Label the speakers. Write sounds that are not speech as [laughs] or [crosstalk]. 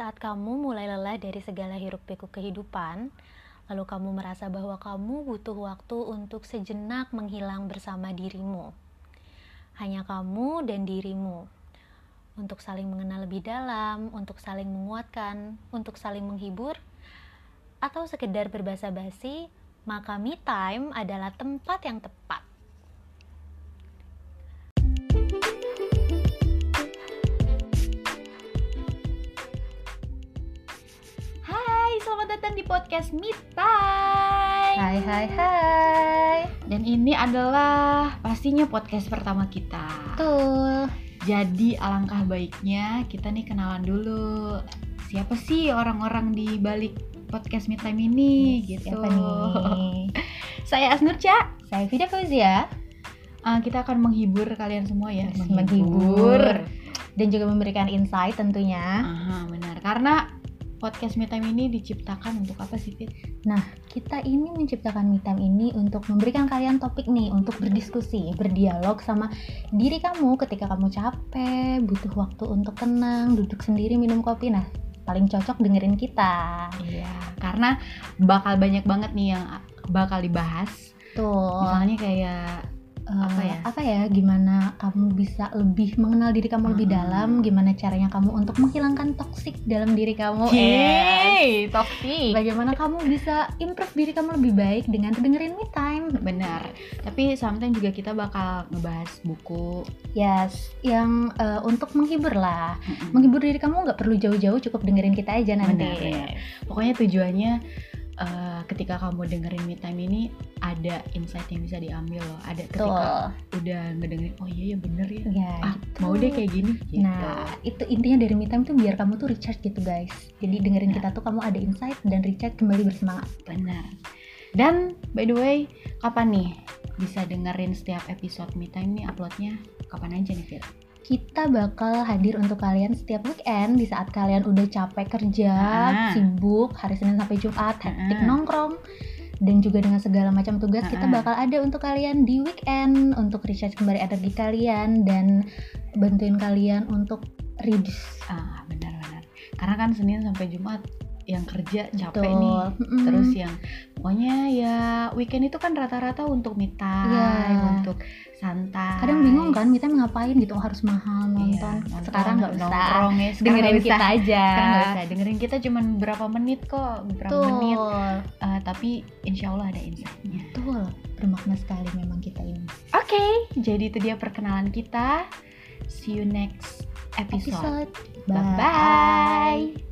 Speaker 1: Saat kamu mulai lelah dari segala hiruk-pikuk kehidupan, lalu kamu merasa bahwa kamu butuh waktu untuk sejenak menghilang bersama dirimu. Hanya kamu dan dirimu. Untuk saling mengenal lebih dalam, untuk saling menguatkan, untuk saling menghibur, atau sekedar berbahasa basi, maka me time adalah tempat yang tepat. Hai, selamat datang di podcast Me Time.
Speaker 2: Hai hai hai.
Speaker 1: Dan ini adalah pastinya podcast pertama kita.
Speaker 2: Betul.
Speaker 1: Jadi alangkah baiknya kita nih kenalan dulu. Siapa sih orang-orang di balik podcast Me Time ini gitu.
Speaker 2: Siapa nih?
Speaker 1: Saya Asnurca.
Speaker 2: [laughs] Saya Vida Fauzia.
Speaker 1: Eh, kita akan menghibur kalian semua ya.
Speaker 2: dan juga memberikan insight tentunya.
Speaker 1: Aha, benar. Karena podcast Me Time ini diciptakan untuk apa sih, Fit?
Speaker 2: Kita ini menciptakan Me Time ini untuk memberikan kalian topik nih untuk berdiskusi, berdialog sama diri kamu ketika kamu capek, butuh waktu untuk tenang, duduk sendiri minum kopi. Nah, paling cocok dengerin kita.
Speaker 1: Iya, karena bakal banyak banget nih yang bakal dibahas.
Speaker 2: Tuh.
Speaker 1: Misalnya kayak Apa
Speaker 2: Eh,
Speaker 1: ya?
Speaker 2: apa ya gimana kamu bisa lebih mengenal diri kamu lebih
Speaker 1: Hmm.
Speaker 2: dalam gimana caranya kamu untuk menghilangkan toksik dalam diri kamu Eh,
Speaker 1: Yeay, toxic.
Speaker 2: bagaimana kamu bisa improve diri kamu lebih baik dengan dengerin me time
Speaker 1: Benar. Tapi sometimes juga kita bakal ngebahas buku.
Speaker 2: yes yang eh, untuk menghibur lah
Speaker 1: Mm-mm.
Speaker 2: menghibur diri kamu nggak perlu jauh-jauh cukup dengerin kita aja nanti
Speaker 1: Benar, benar. Pokoknya tujuannya eh, ketika kamu dengerin me time ini ada insight yang bisa diambil loh. Ada ketika
Speaker 2: Betul.
Speaker 1: udah ngedengerin, oh iya ya bener ya.
Speaker 2: ya
Speaker 1: Ah,
Speaker 2: gitu.
Speaker 1: mau deh kayak gini. gitu.
Speaker 2: Nah, itu intinya dari me time tuh biar kamu tuh recharge gitu guys. Jadi
Speaker 1: Iya.
Speaker 2: dengerin kita tuh kamu ada insight dan recharge kembali bersemangat.
Speaker 1: Benar. Dan by the way, kapan nih bisa dengerin setiap episode Me Time nih uploadnya? Kapan aja nih, Fir?
Speaker 2: kita bakal hadir untuk kalian setiap weekend di saat kalian udah capek kerja,
Speaker 1: Ah.
Speaker 2: sibuk, hari Senin sampai Jumat, hektik
Speaker 1: Ah.
Speaker 2: nongkrong, dan juga dengan segala macam tugas kita
Speaker 1: Ah.
Speaker 2: bakal ada untuk kalian di weekend untuk recharge kembali energi kalian dan bantuin kalian untuk reduce.
Speaker 1: Ah, benar-benar. Karena kan Senin sampai Jumat yang kerja capek
Speaker 2: Betul. Hmm.
Speaker 1: nih.
Speaker 2: Mm-mm.
Speaker 1: Terus yang pokoknya ya weekend itu kan rata-rata untuk me time,
Speaker 2: Iya.
Speaker 1: untuk santai.
Speaker 2: kadang bingung kan kita ngapain gitu oh, harus mahal
Speaker 1: Iya,
Speaker 2: nonton.
Speaker 1: nonton,
Speaker 2: Sekarang nggak usah.
Speaker 1: nongkrong ya, sekarang
Speaker 2: Dengerin
Speaker 1: nggak
Speaker 2: kita
Speaker 1: usah.
Speaker 2: aja.
Speaker 1: Sekarang nggak usah. Dengerin kita cuman berapa menit kok, berapa menit.
Speaker 2: Betul.
Speaker 1: Eh, tapi insya Allah ada insightnya.
Speaker 2: Betul. Bermakna sekali memang kita ini.
Speaker 1: Oke, jadi itu dia perkenalan kita. See you next
Speaker 2: episode.
Speaker 1: episode. Bye
Speaker 2: Bye.
Speaker 1: bye.